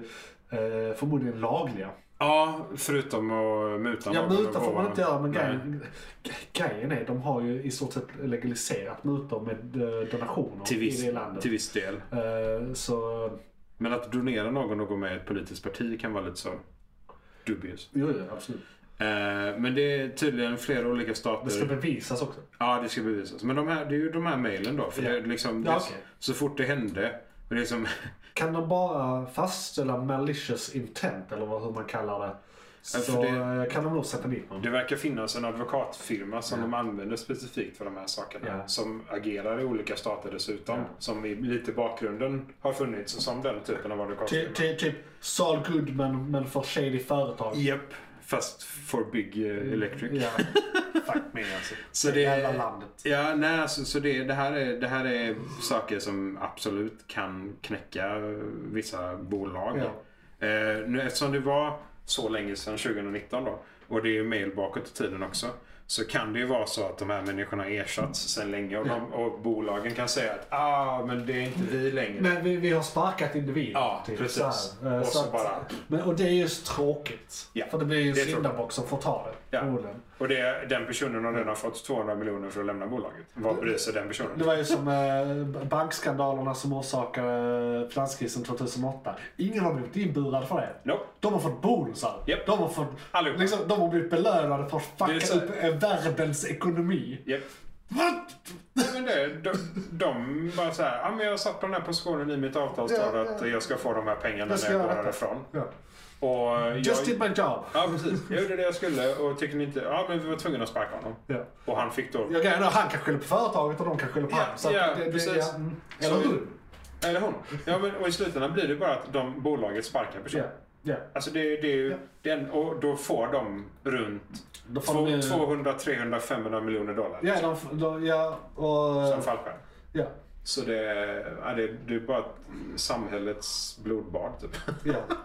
[SPEAKER 1] eh, förmodligen lagliga.
[SPEAKER 4] ja, förutom att muta
[SPEAKER 1] Ja,
[SPEAKER 4] någon och
[SPEAKER 1] mutor får man
[SPEAKER 4] vara-
[SPEAKER 1] inte göra, men
[SPEAKER 4] Nej.
[SPEAKER 1] grejen, grejen är de har ju i stort sett legaliserat mutor med eh, donationer
[SPEAKER 4] Till viss,
[SPEAKER 1] i det landet.
[SPEAKER 4] till viss del.
[SPEAKER 1] Eh, Så
[SPEAKER 4] Men att donera någon och gå med i ett politiskt parti kan vara lite så dubious.
[SPEAKER 1] Jo, jo, absolut.
[SPEAKER 4] Eh, men det är tydligen flera olika stater.
[SPEAKER 1] Det ska bevisas också.
[SPEAKER 4] Ja, det ska bevisas. Men de här, det är ju de här mejlen då. För
[SPEAKER 1] Ja.
[SPEAKER 4] det, är liksom,
[SPEAKER 1] Ja,
[SPEAKER 4] det,
[SPEAKER 1] okej.
[SPEAKER 4] Så fort det hände. Och det är som, [LAUGHS]
[SPEAKER 1] Kan de bara fastställa malicious intent, eller vad, hur man kallar det,
[SPEAKER 4] Ja, för
[SPEAKER 1] så
[SPEAKER 4] det-
[SPEAKER 1] eh, kan de nog sätta dit någon.
[SPEAKER 4] det verkar finnas en advokatfirma som de använder specifikt för de här sakerna.
[SPEAKER 1] Ja.
[SPEAKER 4] Som agerar i olika stater dessutom.
[SPEAKER 1] Ja.
[SPEAKER 4] Som i, lite i bakgrunden har funnits som den typen av advokatfirma.
[SPEAKER 1] Ty, ty, typ Saul Goodman, men för shady företag.
[SPEAKER 4] Japp, fast for big eh, electric.
[SPEAKER 1] Ja,
[SPEAKER 4] Fuck me alltså. Så det,
[SPEAKER 1] jävla landet.
[SPEAKER 4] Ja, nej, alltså, så det, det, här är, det här är saker som absolut kan knäcka vissa bolag.
[SPEAKER 1] Ja.
[SPEAKER 4] Eh, nu, eftersom det var så länge sedan 2019 då och det är ju mail bakåt i tiden också så kan det ju vara så att de här människorna ersatts sedan länge och, de, och bolagen kan säga att ah, men det är inte vi längre.
[SPEAKER 1] Men vi, vi har sparkat individer.
[SPEAKER 4] Ja, precis.
[SPEAKER 1] Så här. Eh,
[SPEAKER 4] Och så
[SPEAKER 1] att-
[SPEAKER 4] bara-
[SPEAKER 1] Men, och det är just tråkigt.
[SPEAKER 4] Ja,
[SPEAKER 1] För det blir ju en
[SPEAKER 4] det är tråkigt.
[SPEAKER 1] syndabock som får ta det.
[SPEAKER 4] Ja.
[SPEAKER 1] förmodligen.
[SPEAKER 4] Och det, den personen har redan fått 200 miljoner för att lämna bolaget. Vad bryr sig den personen?
[SPEAKER 1] Det var ju som eh, bankskandalerna som orsakade eh, finanskrisen 2008. Ingen har blivit inburad för det.
[SPEAKER 4] Nope.
[SPEAKER 1] De har fått bonusar.
[SPEAKER 4] Japp.
[SPEAKER 1] De, har fått,
[SPEAKER 4] Allihopa.
[SPEAKER 1] liksom, de har blivit belönade för att
[SPEAKER 4] Det är
[SPEAKER 1] fucka
[SPEAKER 4] så-
[SPEAKER 1] upp eh, världens ekonomi.
[SPEAKER 4] Japp.
[SPEAKER 1] What?
[SPEAKER 4] Nej, men det, de, de bara så här, ah, men jag satt på den här positionen i mitt avtalstal
[SPEAKER 1] Ja, ja.
[SPEAKER 4] att jag ska få de här pengarna
[SPEAKER 1] Jag ska
[SPEAKER 4] när jag går
[SPEAKER 1] göra detta.
[SPEAKER 4] härifrån.
[SPEAKER 1] Ja.
[SPEAKER 4] Och jag,
[SPEAKER 1] Just did my job.
[SPEAKER 4] ja, precis. Jag gjorde det jag skulle och tycker ni inte, ja men vi var tvungna att sparka honom.
[SPEAKER 1] Ja.
[SPEAKER 4] Och han fick då,
[SPEAKER 1] Jag grejen är att han kan skylla på företaget och de kan skylla på
[SPEAKER 4] Ja,
[SPEAKER 1] honom. Så att
[SPEAKER 4] ja,
[SPEAKER 1] det, det,
[SPEAKER 4] precis.
[SPEAKER 1] ja, mm.
[SPEAKER 4] Så
[SPEAKER 1] Eller
[SPEAKER 4] vi-
[SPEAKER 1] hur?
[SPEAKER 4] eller hon. Ja, men, och i slutändan blir det bara att de, bolaget sparkar personen.
[SPEAKER 1] Ja, ja.
[SPEAKER 4] Alltså det, det är ju,
[SPEAKER 1] Ja.
[SPEAKER 4] den, och då får de runt
[SPEAKER 1] Då får
[SPEAKER 4] två-
[SPEAKER 1] de ju-
[SPEAKER 4] 200, 300, 500 miljoner dollar.
[SPEAKER 1] Ja, de, de, ja, och,
[SPEAKER 4] Som fallskärm.
[SPEAKER 1] ja,
[SPEAKER 4] Så det, ja, det, det är bara ett samhällets blodbad typ.
[SPEAKER 1] ja.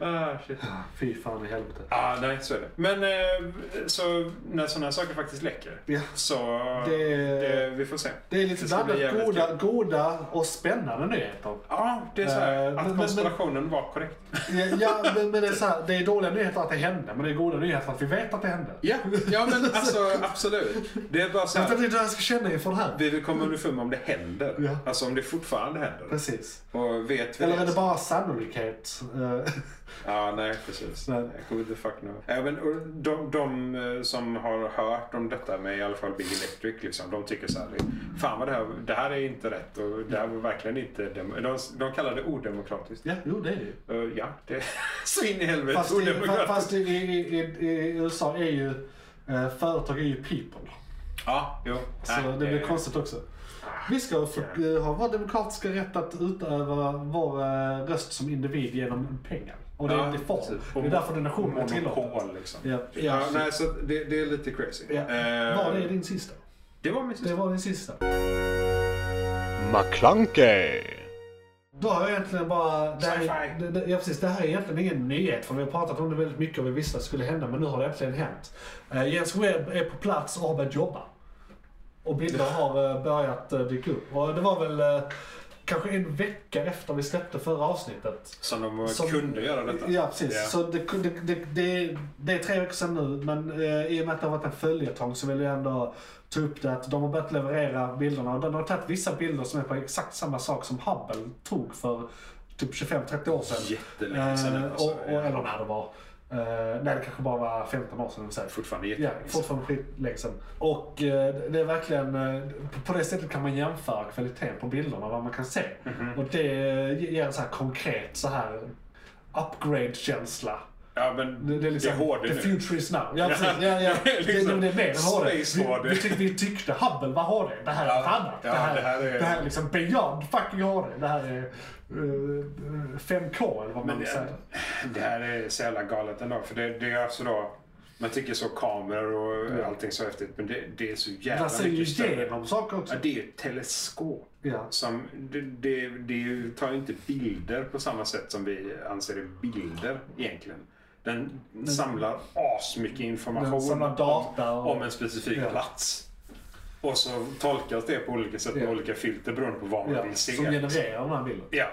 [SPEAKER 4] ah, shit.
[SPEAKER 1] Fy fan i helvete.
[SPEAKER 4] Ja, nej, så är det. Men eh, så när sådana här saker faktiskt läcker
[SPEAKER 1] Ja.
[SPEAKER 4] så
[SPEAKER 1] Det-
[SPEAKER 4] det, vi får se.
[SPEAKER 1] Det är lite
[SPEAKER 4] ska bli
[SPEAKER 1] blandat
[SPEAKER 4] jävligt
[SPEAKER 1] goda,
[SPEAKER 4] kul.
[SPEAKER 1] goda och spännande nyheter.
[SPEAKER 4] Ja, det är så här
[SPEAKER 1] Eh, men-
[SPEAKER 4] att
[SPEAKER 1] men-
[SPEAKER 4] konspirationen var
[SPEAKER 1] [LAUGHS]
[SPEAKER 4] korrekt.
[SPEAKER 1] Ja, Ja, men, men det, är så här, det är dåliga nyheter att det hände, men det är goda nyheter att vi vet att det hände.
[SPEAKER 4] Ja, ja men alltså absolut. Det är bara så
[SPEAKER 1] Jag vet
[SPEAKER 4] här.
[SPEAKER 1] inte hur jag ska känna inför det här.
[SPEAKER 4] Vi vill komma underfund med om det händer.
[SPEAKER 1] Ja.
[SPEAKER 4] Alltså om det fortfarande händer.
[SPEAKER 1] Precis.
[SPEAKER 4] Och vet vi
[SPEAKER 1] Eller är
[SPEAKER 4] det? alltså.
[SPEAKER 1] det bara sannolikhet? Eh,
[SPEAKER 4] Ja, nej precis.
[SPEAKER 1] Nej.
[SPEAKER 4] Nej. Who the fuck know. Även och de, de eh, som har hört om detta med i alla fall Big Electric, liksom, de tycker så här. Fan vad det här, det här är inte rätt och det här var verkligen inte... dem- De, de kallar det odemokratiskt.
[SPEAKER 1] Ja, jo det är det ju.
[SPEAKER 4] Eh, ja, det [LAUGHS] så in i helvete
[SPEAKER 1] Fast, i,
[SPEAKER 4] odemokratiskt.
[SPEAKER 1] fast i, i, i, i USA är ju eh, företag är ju people.
[SPEAKER 4] Ja, jo.
[SPEAKER 1] Så
[SPEAKER 4] Nej,
[SPEAKER 1] Alltså, det blir konstigt också. Vi ska få, eh, ha vår demokratiska rätt att utöva vår eh, röst som individ genom pengar. Och det är
[SPEAKER 4] Ja,
[SPEAKER 1] inte form.
[SPEAKER 4] precis.
[SPEAKER 1] Det är därför donationer är tillåtna.
[SPEAKER 4] Monopol liksom.
[SPEAKER 1] Ja,
[SPEAKER 4] Ja,
[SPEAKER 1] ja,
[SPEAKER 4] nej, så det, det är lite crazy.
[SPEAKER 1] ja.
[SPEAKER 4] Eh,
[SPEAKER 1] Var det din sista?
[SPEAKER 4] det var min
[SPEAKER 1] Det
[SPEAKER 4] sista.
[SPEAKER 1] var din sista.
[SPEAKER 3] McClunkey.
[SPEAKER 1] Då har jag egentligen bara... Det här, är-
[SPEAKER 4] Sci-fi.
[SPEAKER 1] det, det, ja, precis, det här är egentligen ingen nyhet för vi har pratat om det väldigt mycket och vi visste att det skulle hända men nu har det äntligen hänt. Eh, Jens Webb är på plats och har börjat jobba. Och bilder har eh, börjat eh, dyka upp. Och det var väl eh, kanske en vecka efter vi släppte förra avsnittet.
[SPEAKER 4] Som de
[SPEAKER 1] Som-
[SPEAKER 4] kunde göra detta.
[SPEAKER 1] Ja precis,
[SPEAKER 4] Ja.
[SPEAKER 1] så det, kunde- det, det, det är tre veckor sedan nu men eh, i och med att det har varit en följetong så vill jag ändå ta upp det att de har börjat leverera bilderna och de har tagit vissa bilder som är på exakt samma sak som Hubble tog för typ 25-30 år sedan.
[SPEAKER 4] Jättelänge sedan,
[SPEAKER 1] Eh,
[SPEAKER 4] alltså.
[SPEAKER 1] och, och, eller när det var. Eh, nej det kanske bara var 15 år sedan. Säkert.
[SPEAKER 4] Fortfarande
[SPEAKER 1] Ja,
[SPEAKER 4] jättelänge sedan.
[SPEAKER 1] fortfarande skitlänge sedan. Och eh, det är verkligen, eh, på det sättet kan man jämföra kvaliteten på bilderna, vad man kan se.
[SPEAKER 4] Mhm.
[SPEAKER 1] Och det eh, ger en så här konkret så här upgrade-känsla.
[SPEAKER 4] Ja, men
[SPEAKER 1] Det, det är liksom,
[SPEAKER 4] HD
[SPEAKER 1] the
[SPEAKER 4] nu.
[SPEAKER 1] future is now. Ja, precis. Ja,
[SPEAKER 4] [LAUGHS]
[SPEAKER 1] ja.
[SPEAKER 4] Liksom,
[SPEAKER 1] det, det, det är mer
[SPEAKER 4] space
[SPEAKER 1] än HD.
[SPEAKER 4] HD.
[SPEAKER 1] Vi, vi, tyck, vi tyckte Hubble var HD. Det här är
[SPEAKER 4] Ja,
[SPEAKER 1] något annat.
[SPEAKER 4] ja, det här är-
[SPEAKER 1] det här är liksom beyond fucking HD. Det här är eh, 5K eller vad
[SPEAKER 4] Men
[SPEAKER 1] man
[SPEAKER 4] det,
[SPEAKER 1] säger.
[SPEAKER 4] är- det här är så jävla galet ändå. För det, det är alltså då... Man tycker så kameror och allting så häftigt. Men det, det är så
[SPEAKER 1] Man
[SPEAKER 4] jävla
[SPEAKER 1] ser ju
[SPEAKER 4] mycket större.
[SPEAKER 1] igenom saker
[SPEAKER 4] Ja,
[SPEAKER 1] också.
[SPEAKER 4] det är ju ett teleskop.
[SPEAKER 1] Ja.
[SPEAKER 4] Som, det, det, det är ju- tar ju inte bilder på samma sätt som vi anser är bilder egentligen. Den samlar asmycket information
[SPEAKER 1] Den samlar data
[SPEAKER 4] om,
[SPEAKER 1] och-
[SPEAKER 4] om en specifik
[SPEAKER 1] Ja.
[SPEAKER 4] plats. Och så tolkas det på olika sätt med
[SPEAKER 1] Ja.
[SPEAKER 4] olika filter beroende på vad man
[SPEAKER 1] Ja,
[SPEAKER 4] vill se.
[SPEAKER 1] som genererar den här bilden.
[SPEAKER 4] Ja.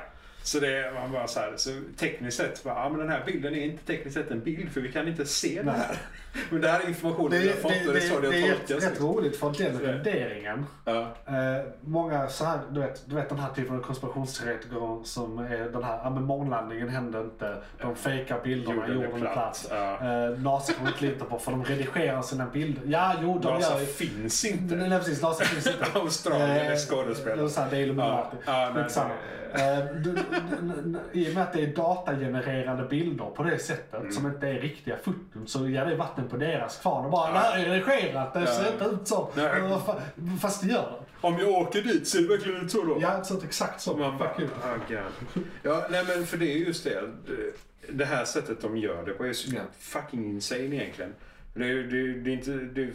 [SPEAKER 4] Så det man bara så här, så tekniskt sett, bara, ja, men den här bilden är inte tekniskt sett en bild för vi kan inte se det här. [LAUGHS] Men det här är informationen
[SPEAKER 1] Det,
[SPEAKER 4] vi
[SPEAKER 1] är-
[SPEAKER 4] har fått
[SPEAKER 1] det,
[SPEAKER 4] och det är så
[SPEAKER 1] det,
[SPEAKER 4] det
[SPEAKER 1] det
[SPEAKER 4] har
[SPEAKER 1] är rätt,
[SPEAKER 4] tolkats.
[SPEAKER 1] rätt roligt för den
[SPEAKER 4] Så det-
[SPEAKER 1] renderingen.
[SPEAKER 4] Ja.
[SPEAKER 1] Eh, många så här, du vet, du vet den här typen av konspirationsteoretiker som är den här, ja men månlandningen hände inte, de fejkar bilderna,
[SPEAKER 4] Jorden är
[SPEAKER 1] jorden är
[SPEAKER 4] platt.
[SPEAKER 1] platt.
[SPEAKER 4] Ja.
[SPEAKER 1] Eh, NASA kommer inte lita på för de redigerar sina bilder. Ja, jo de
[SPEAKER 4] NASA
[SPEAKER 1] gör ju...
[SPEAKER 4] finns inte.
[SPEAKER 1] Nej, nej, precis. NASA finns inte.
[SPEAKER 4] [LAUGHS] Australien är
[SPEAKER 1] Eh,
[SPEAKER 4] skådespelare.
[SPEAKER 1] det är så här, Det är Illuminati.
[SPEAKER 4] Ja, ja, men-
[SPEAKER 1] Skitsamma. Eh, du- du- n- n- I och med att det är datagenererade bilder på det sättet
[SPEAKER 4] Mm.
[SPEAKER 1] som inte är riktiga foton så ger det vatten på deras kvarn och bara det här är redigerat, det ser
[SPEAKER 4] Ja.
[SPEAKER 1] inte ut så.
[SPEAKER 4] Nej.
[SPEAKER 1] Eh, vad fa- Fast det gör det.
[SPEAKER 4] Om jag åker dit ser det verkligen ut så då?
[SPEAKER 1] Ja, så att exakt så.
[SPEAKER 4] Och Man bara,
[SPEAKER 1] Fuck you.
[SPEAKER 4] "Ah, God." ja, nej men för det är just det. eh, Det här sättet de gör det på är så
[SPEAKER 1] Ja.
[SPEAKER 4] fucking insane egentligen. Det, är- det, är- det är inte... Det, är-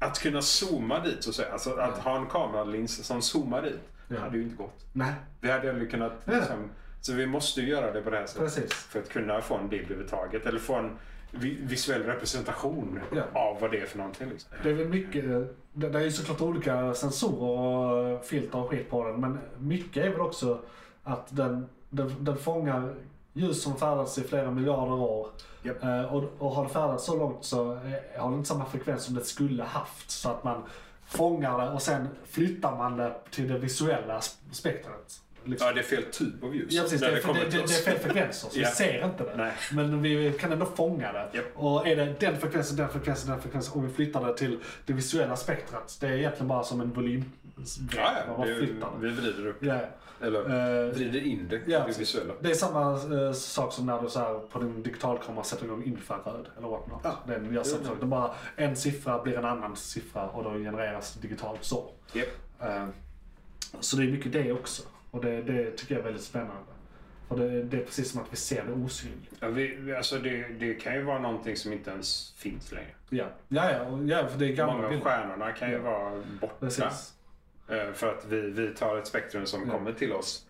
[SPEAKER 4] att kunna zooma dit så att säga. Alltså att ha en kameralins som zoomar dit.
[SPEAKER 1] Ja.
[SPEAKER 4] hade ju inte gått.
[SPEAKER 1] Nej,
[SPEAKER 4] Vi hade aldrig kunnat...
[SPEAKER 1] Ja.
[SPEAKER 4] Liksom, så vi måste ju göra det på det här sättet.
[SPEAKER 1] precis.
[SPEAKER 4] För att kunna få en bild överhuvudtaget. Eller få en vi- visuell representation
[SPEAKER 1] Ja.
[SPEAKER 4] av vad det är för någonting. Liksom.
[SPEAKER 1] Det är väl mycket, eh, det, det är ju såklart olika sensorer och eh, filter och skit på den. Men mycket är väl också att den, den, den fångar ljus som färdas i flera miljarder år.
[SPEAKER 4] Japp.
[SPEAKER 1] Eh, och, och har det färdats så långt så eh, har det inte samma frekvens som det skulle haft. Så att man fångar det och sen flyttar man det till det visuella sp- spektrat. Liksom.
[SPEAKER 4] Ja, det är fel typ av ljus.
[SPEAKER 1] Ja precis,
[SPEAKER 4] när
[SPEAKER 1] det, är- för det,
[SPEAKER 4] kommer
[SPEAKER 1] det,
[SPEAKER 4] till
[SPEAKER 1] det är
[SPEAKER 4] oss.
[SPEAKER 1] fel frekvenser så vi
[SPEAKER 4] [LAUGHS] Ja.
[SPEAKER 1] ser inte det.
[SPEAKER 4] Nej.
[SPEAKER 1] Men vi kan ändå fånga det.
[SPEAKER 4] Japp.
[SPEAKER 1] Och är det den frekvensen, den frekvensen, den frekvensen och vi flyttar det till det visuella spektrat. Det är egentligen bara som en volym.
[SPEAKER 4] Ja,
[SPEAKER 1] Man
[SPEAKER 4] ja.
[SPEAKER 1] bara
[SPEAKER 4] Det,
[SPEAKER 1] flyttar det.
[SPEAKER 4] vi vrider upp.
[SPEAKER 1] Ja.
[SPEAKER 4] Eller
[SPEAKER 1] Eh,
[SPEAKER 4] vrider in det.
[SPEAKER 1] ja,
[SPEAKER 4] det
[SPEAKER 1] precis.
[SPEAKER 4] visuella.
[SPEAKER 1] det är samma eh, sak som när du så här, på din digitalkamera sätter igång infraröd eller whatnot.
[SPEAKER 4] Ja.
[SPEAKER 1] Den gör samma
[SPEAKER 4] det.
[SPEAKER 1] sak. Det är bara en siffra blir en annan siffra och då genereras det digitalt så.
[SPEAKER 4] Japp.
[SPEAKER 1] Eh, Så det är mycket det också. Och det, det tycker jag är väldigt spännande. För det, det är precis som att vi ser det osynligt.
[SPEAKER 4] Ja, vi, vi- alltså det, det kan ju vara någonting som inte ens finns längre.
[SPEAKER 1] Ja, ja, ja, och- ja för det är gamla
[SPEAKER 4] Många av
[SPEAKER 1] bilder.
[SPEAKER 4] stjärnorna kan ju vara borta.
[SPEAKER 1] Precis.
[SPEAKER 4] Eh, För att vi, vi tar ett spektrum som
[SPEAKER 1] Ja.
[SPEAKER 4] kommer till oss,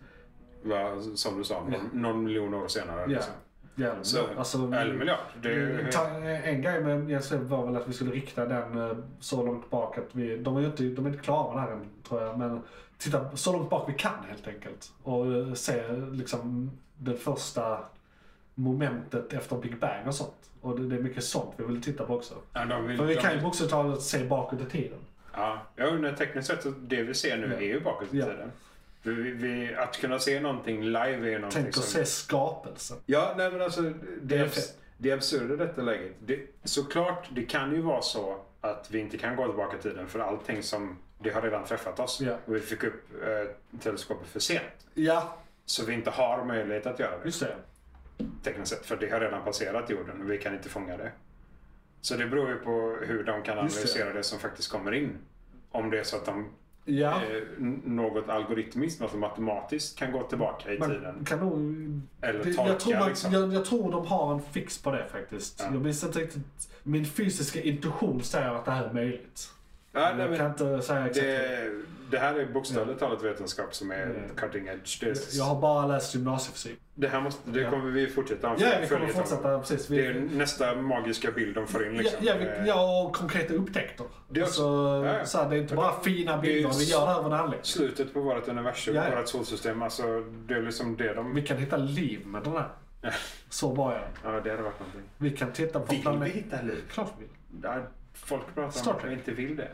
[SPEAKER 4] va, som du sa, någon,
[SPEAKER 1] Ja.
[SPEAKER 4] någon miljon år senare.
[SPEAKER 1] Ja.
[SPEAKER 4] liksom.
[SPEAKER 1] Ja,
[SPEAKER 4] Så,
[SPEAKER 1] ja, alltså,
[SPEAKER 4] eller miljard. Det, är-
[SPEAKER 1] Mm, ta- en grej med Jens Webb var väl att vi skulle rikta den eh, så långt bak att vi, de är ju inte, de är inte klara med det här än, tror jag, men titta så långt bak vi kan helt enkelt. Och eh, se liksom det första momentet efter Big Bang och sånt. Och det, det är mycket sånt vi vill titta på också.
[SPEAKER 4] ja, de vill,
[SPEAKER 1] För vi
[SPEAKER 4] de
[SPEAKER 1] kan
[SPEAKER 4] vill-
[SPEAKER 1] ju också ta och se bakåt i tiden.
[SPEAKER 4] Ja, jag undrar tekniskt sett, så det vi ser nu
[SPEAKER 1] Ja.
[SPEAKER 4] är ju bakåt i
[SPEAKER 1] Ja.
[SPEAKER 4] tiden. Vi, vi- vi, att kunna se någonting live är ju någonting
[SPEAKER 1] Tänk att se skapelsen.
[SPEAKER 4] Ja, nej men alltså
[SPEAKER 1] Det
[SPEAKER 4] det,
[SPEAKER 1] är
[SPEAKER 4] abs- det absurda i detta läget. Det, såklart, det kan ju vara så att vi inte kan gå tillbaka i tiden för allting som det har redan träffat oss.
[SPEAKER 1] Ja.
[SPEAKER 4] Och vi fick upp eh, teleskopet för sent.
[SPEAKER 1] Ja,
[SPEAKER 4] Så vi inte har möjlighet att göra det
[SPEAKER 1] just det.
[SPEAKER 4] tekniskt sett. För det har redan passerat jorden och vi kan inte fånga det. Så det beror ju på hur de kan
[SPEAKER 1] Just det.
[SPEAKER 4] analysera det. som faktiskt kommer in. Om det är så att de
[SPEAKER 1] Ja.
[SPEAKER 4] eh, n- något algoritmiskt, något matematiskt kan gå tillbaka i
[SPEAKER 1] Man
[SPEAKER 4] tiden.
[SPEAKER 1] kan nog...
[SPEAKER 4] Eller
[SPEAKER 1] det-
[SPEAKER 4] tolka,
[SPEAKER 1] jag, tror man,
[SPEAKER 4] liksom.
[SPEAKER 1] jag, jag tror de har en fix på det faktiskt.
[SPEAKER 4] Ja.
[SPEAKER 1] Jag minns inte riktigt. Min fysiska intuition säger att det här är möjligt.
[SPEAKER 4] Ja, nej,
[SPEAKER 1] jag
[SPEAKER 4] men-
[SPEAKER 1] kan inte säga exakt.
[SPEAKER 4] Det, det här är bokstavligt talat vetenskap som är
[SPEAKER 1] Mm.
[SPEAKER 4] cutting edge. Det,
[SPEAKER 1] Jag har bara läst gymnasiefysik.
[SPEAKER 4] det här måste, det kommer vi fortsätta
[SPEAKER 1] Ja, vi kommer
[SPEAKER 4] följetong.
[SPEAKER 1] fortsätta. Precis.
[SPEAKER 4] Det är
[SPEAKER 1] Vi,
[SPEAKER 4] nästa magiska bild de får in. Liksom.
[SPEAKER 1] ja, ja, vi, ja, och konkreta upptäkter.
[SPEAKER 4] Det är
[SPEAKER 1] alltså,
[SPEAKER 4] ja, ja.
[SPEAKER 1] Så här, det är inte bara fina
[SPEAKER 4] det är ju
[SPEAKER 1] bilder. Vi gör det här av en anledning.
[SPEAKER 4] Eh, Slutet på vårt universum,
[SPEAKER 1] Ja, ja.
[SPEAKER 4] vårt solsystem. Alltså, det är liksom det de...
[SPEAKER 1] Vi kan hitta liv med den här. Så bara är det.
[SPEAKER 4] Ja, det hade varit någonting.
[SPEAKER 1] Vi kan titta på
[SPEAKER 4] Vill vi hitta liv?
[SPEAKER 1] Klart vi vill.
[SPEAKER 4] Ja, folk pratar
[SPEAKER 1] Star
[SPEAKER 4] om att de
[SPEAKER 1] Trek.
[SPEAKER 4] inte vill det.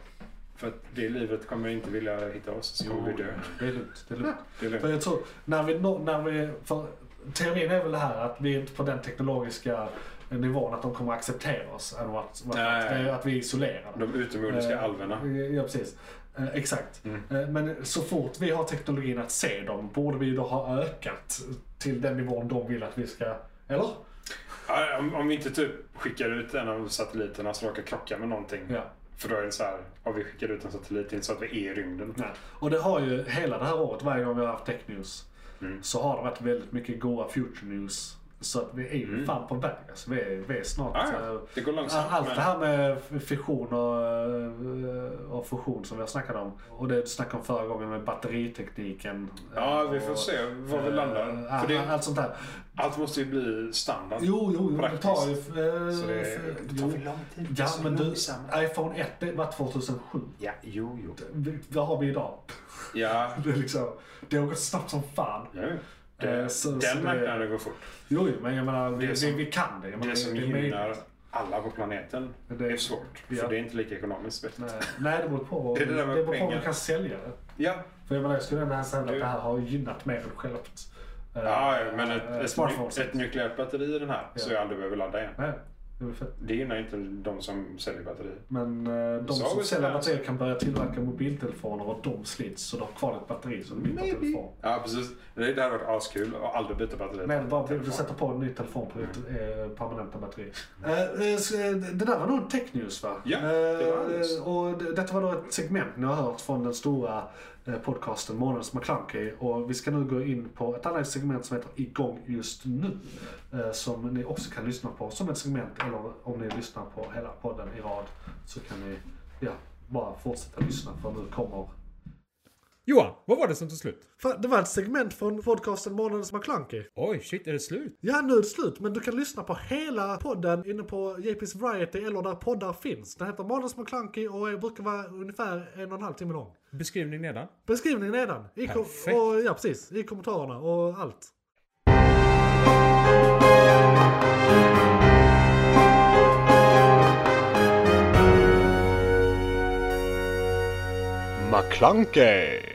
[SPEAKER 4] För att det livet kommer inte vilja hitta oss, så kommer vi dö.
[SPEAKER 1] Det är lugnt. Det är lugnt.
[SPEAKER 4] Det är lugnt.
[SPEAKER 1] För jag tror, när vi, nå- när vi, för teorin är väl det här att vi är inte på den teknologiska nivån att de kommer acceptera oss. Än vad, vad,
[SPEAKER 4] Nej.
[SPEAKER 1] det är att vi är isolerade.
[SPEAKER 4] De utomjordiska
[SPEAKER 1] Eh,
[SPEAKER 4] alverna. Mm.
[SPEAKER 1] Ja, precis. Eh, Exakt. Eh, Men så fort vi har teknologin att se dem borde vi då ha ökat till den nivån de vill att vi ska... Eller?
[SPEAKER 4] Ja, om, om vi inte typ skickar ut en av satelliterna som råkar krocka med någonting.
[SPEAKER 1] Ja.
[SPEAKER 4] För då är det så här, om vi skickar ut en satellit det är inte så att vi är i rymden.
[SPEAKER 1] Nej. Och det har ju hela det här året, varje gång vi har haft tech news,
[SPEAKER 4] Mm.
[SPEAKER 1] så har det varit väldigt mycket goa future news. Så att vi är ju fan på väg. Alltså, vi, är, vi är snart...
[SPEAKER 4] Mm. Ah, Ja, ja.
[SPEAKER 1] eh,
[SPEAKER 4] Det går långsamt.
[SPEAKER 1] Allt
[SPEAKER 4] men-
[SPEAKER 1] det här med fission och, eh, och fusion som vi har snackat om. Och det du snackade om förra gången med batteritekniken. eh,
[SPEAKER 4] Ja, vi får
[SPEAKER 1] och,
[SPEAKER 4] se var vi
[SPEAKER 1] eh,
[SPEAKER 4] landar.
[SPEAKER 1] allt-
[SPEAKER 4] För det,
[SPEAKER 1] Allt sånt där.
[SPEAKER 4] allt måste ju bli standard.
[SPEAKER 1] Jo, jo, jo det
[SPEAKER 4] Praktiskt.
[SPEAKER 1] tar ju... eh,
[SPEAKER 4] Så det-
[SPEAKER 1] för-
[SPEAKER 4] det tar för
[SPEAKER 1] jo.
[SPEAKER 4] lång tid. Det är
[SPEAKER 1] Ja,
[SPEAKER 4] så
[SPEAKER 1] men du,
[SPEAKER 4] långsamt.
[SPEAKER 1] iPhone 1 det var 2007.
[SPEAKER 4] Ja, jo, jo.
[SPEAKER 1] Vi- Vad har vi idag?
[SPEAKER 4] Ja.
[SPEAKER 1] [LAUGHS] Det, är liksom, det har gått snabbt som fan.
[SPEAKER 4] ja.
[SPEAKER 1] Eh, så- så det-
[SPEAKER 4] Den marknaden går fort.
[SPEAKER 1] Jo, jo, men jag menar, vi,
[SPEAKER 4] Det som-
[SPEAKER 1] vi, vi kan det. eh, Jag menar,
[SPEAKER 4] Det som
[SPEAKER 1] möjligt.
[SPEAKER 4] gynnar alla på planeten
[SPEAKER 1] Men det-
[SPEAKER 4] är svårt.
[SPEAKER 1] Ja.
[SPEAKER 4] För det är inte lika ekonomiskt vet du.
[SPEAKER 1] Nej, nej, det beror på,
[SPEAKER 4] Det
[SPEAKER 1] det
[SPEAKER 4] är det där med
[SPEAKER 1] beror på om
[SPEAKER 4] pengar.
[SPEAKER 1] du kan sälja det.
[SPEAKER 4] Ja.
[SPEAKER 1] För jag menar, jag skulle ändå säga att
[SPEAKER 4] Du-
[SPEAKER 1] det här har gynnat mer än självt. Eh,
[SPEAKER 4] Ja, ja, men ett,
[SPEAKER 1] eh,
[SPEAKER 4] ett,
[SPEAKER 1] smartphones.
[SPEAKER 4] ny- ett nukleärt batteri i den här så jag aldrig behöver ladda igen.
[SPEAKER 1] Nej, det är väl fett.
[SPEAKER 4] Det gynnar inte de som säljer batterier.
[SPEAKER 1] Men eh, de
[SPEAKER 4] Så har
[SPEAKER 1] som
[SPEAKER 4] vi
[SPEAKER 1] säljer
[SPEAKER 4] sådär.
[SPEAKER 1] batterier kan börja tillverka mobiltelefoner och de slits så de har kvar ett batteri så det blir bara en telefon.
[SPEAKER 4] Ja, precis. Det, det hade varit askul att aldrig byta batteri.
[SPEAKER 1] Nej, det är bara du sätter på en ny telefon på ditt eh, permanenta batteri. Eh, eh, så, eh, det där var nog en tech news va?
[SPEAKER 4] Mm. Ja, det var
[SPEAKER 1] Eh,
[SPEAKER 4] alldeles.
[SPEAKER 1] Och det- detta var då ett segment ni har hört från den stora eh, podcasten Månadens McClunky. Och vi ska nu gå in på ett annat segment som heter Igång just nu. Eh, som ni också kan lyssna på som ett segment. Eller om ni lyssnar på hela podden i rad så kan ni ja, bara fortsätta lyssna för nu kommer
[SPEAKER 2] Johan, vad var det som tog slut?
[SPEAKER 1] det var ett segment från podcasten Månadens McClunky.
[SPEAKER 2] Oj, shit, är det slut?
[SPEAKER 1] Ja, nu är det slut, men du kan lyssna på hela podden inne på JP's Variety eller där poddar finns. Den heter Manus McClunky och är- brukar vara ungefär en och en halv timme lång.
[SPEAKER 2] Beskrivning nedan.
[SPEAKER 1] Beskrivningen nedan. I kom-
[SPEAKER 2] Perfekt.
[SPEAKER 1] och, ja, precis. I kommentarerna och allt.
[SPEAKER 3] McClunkey.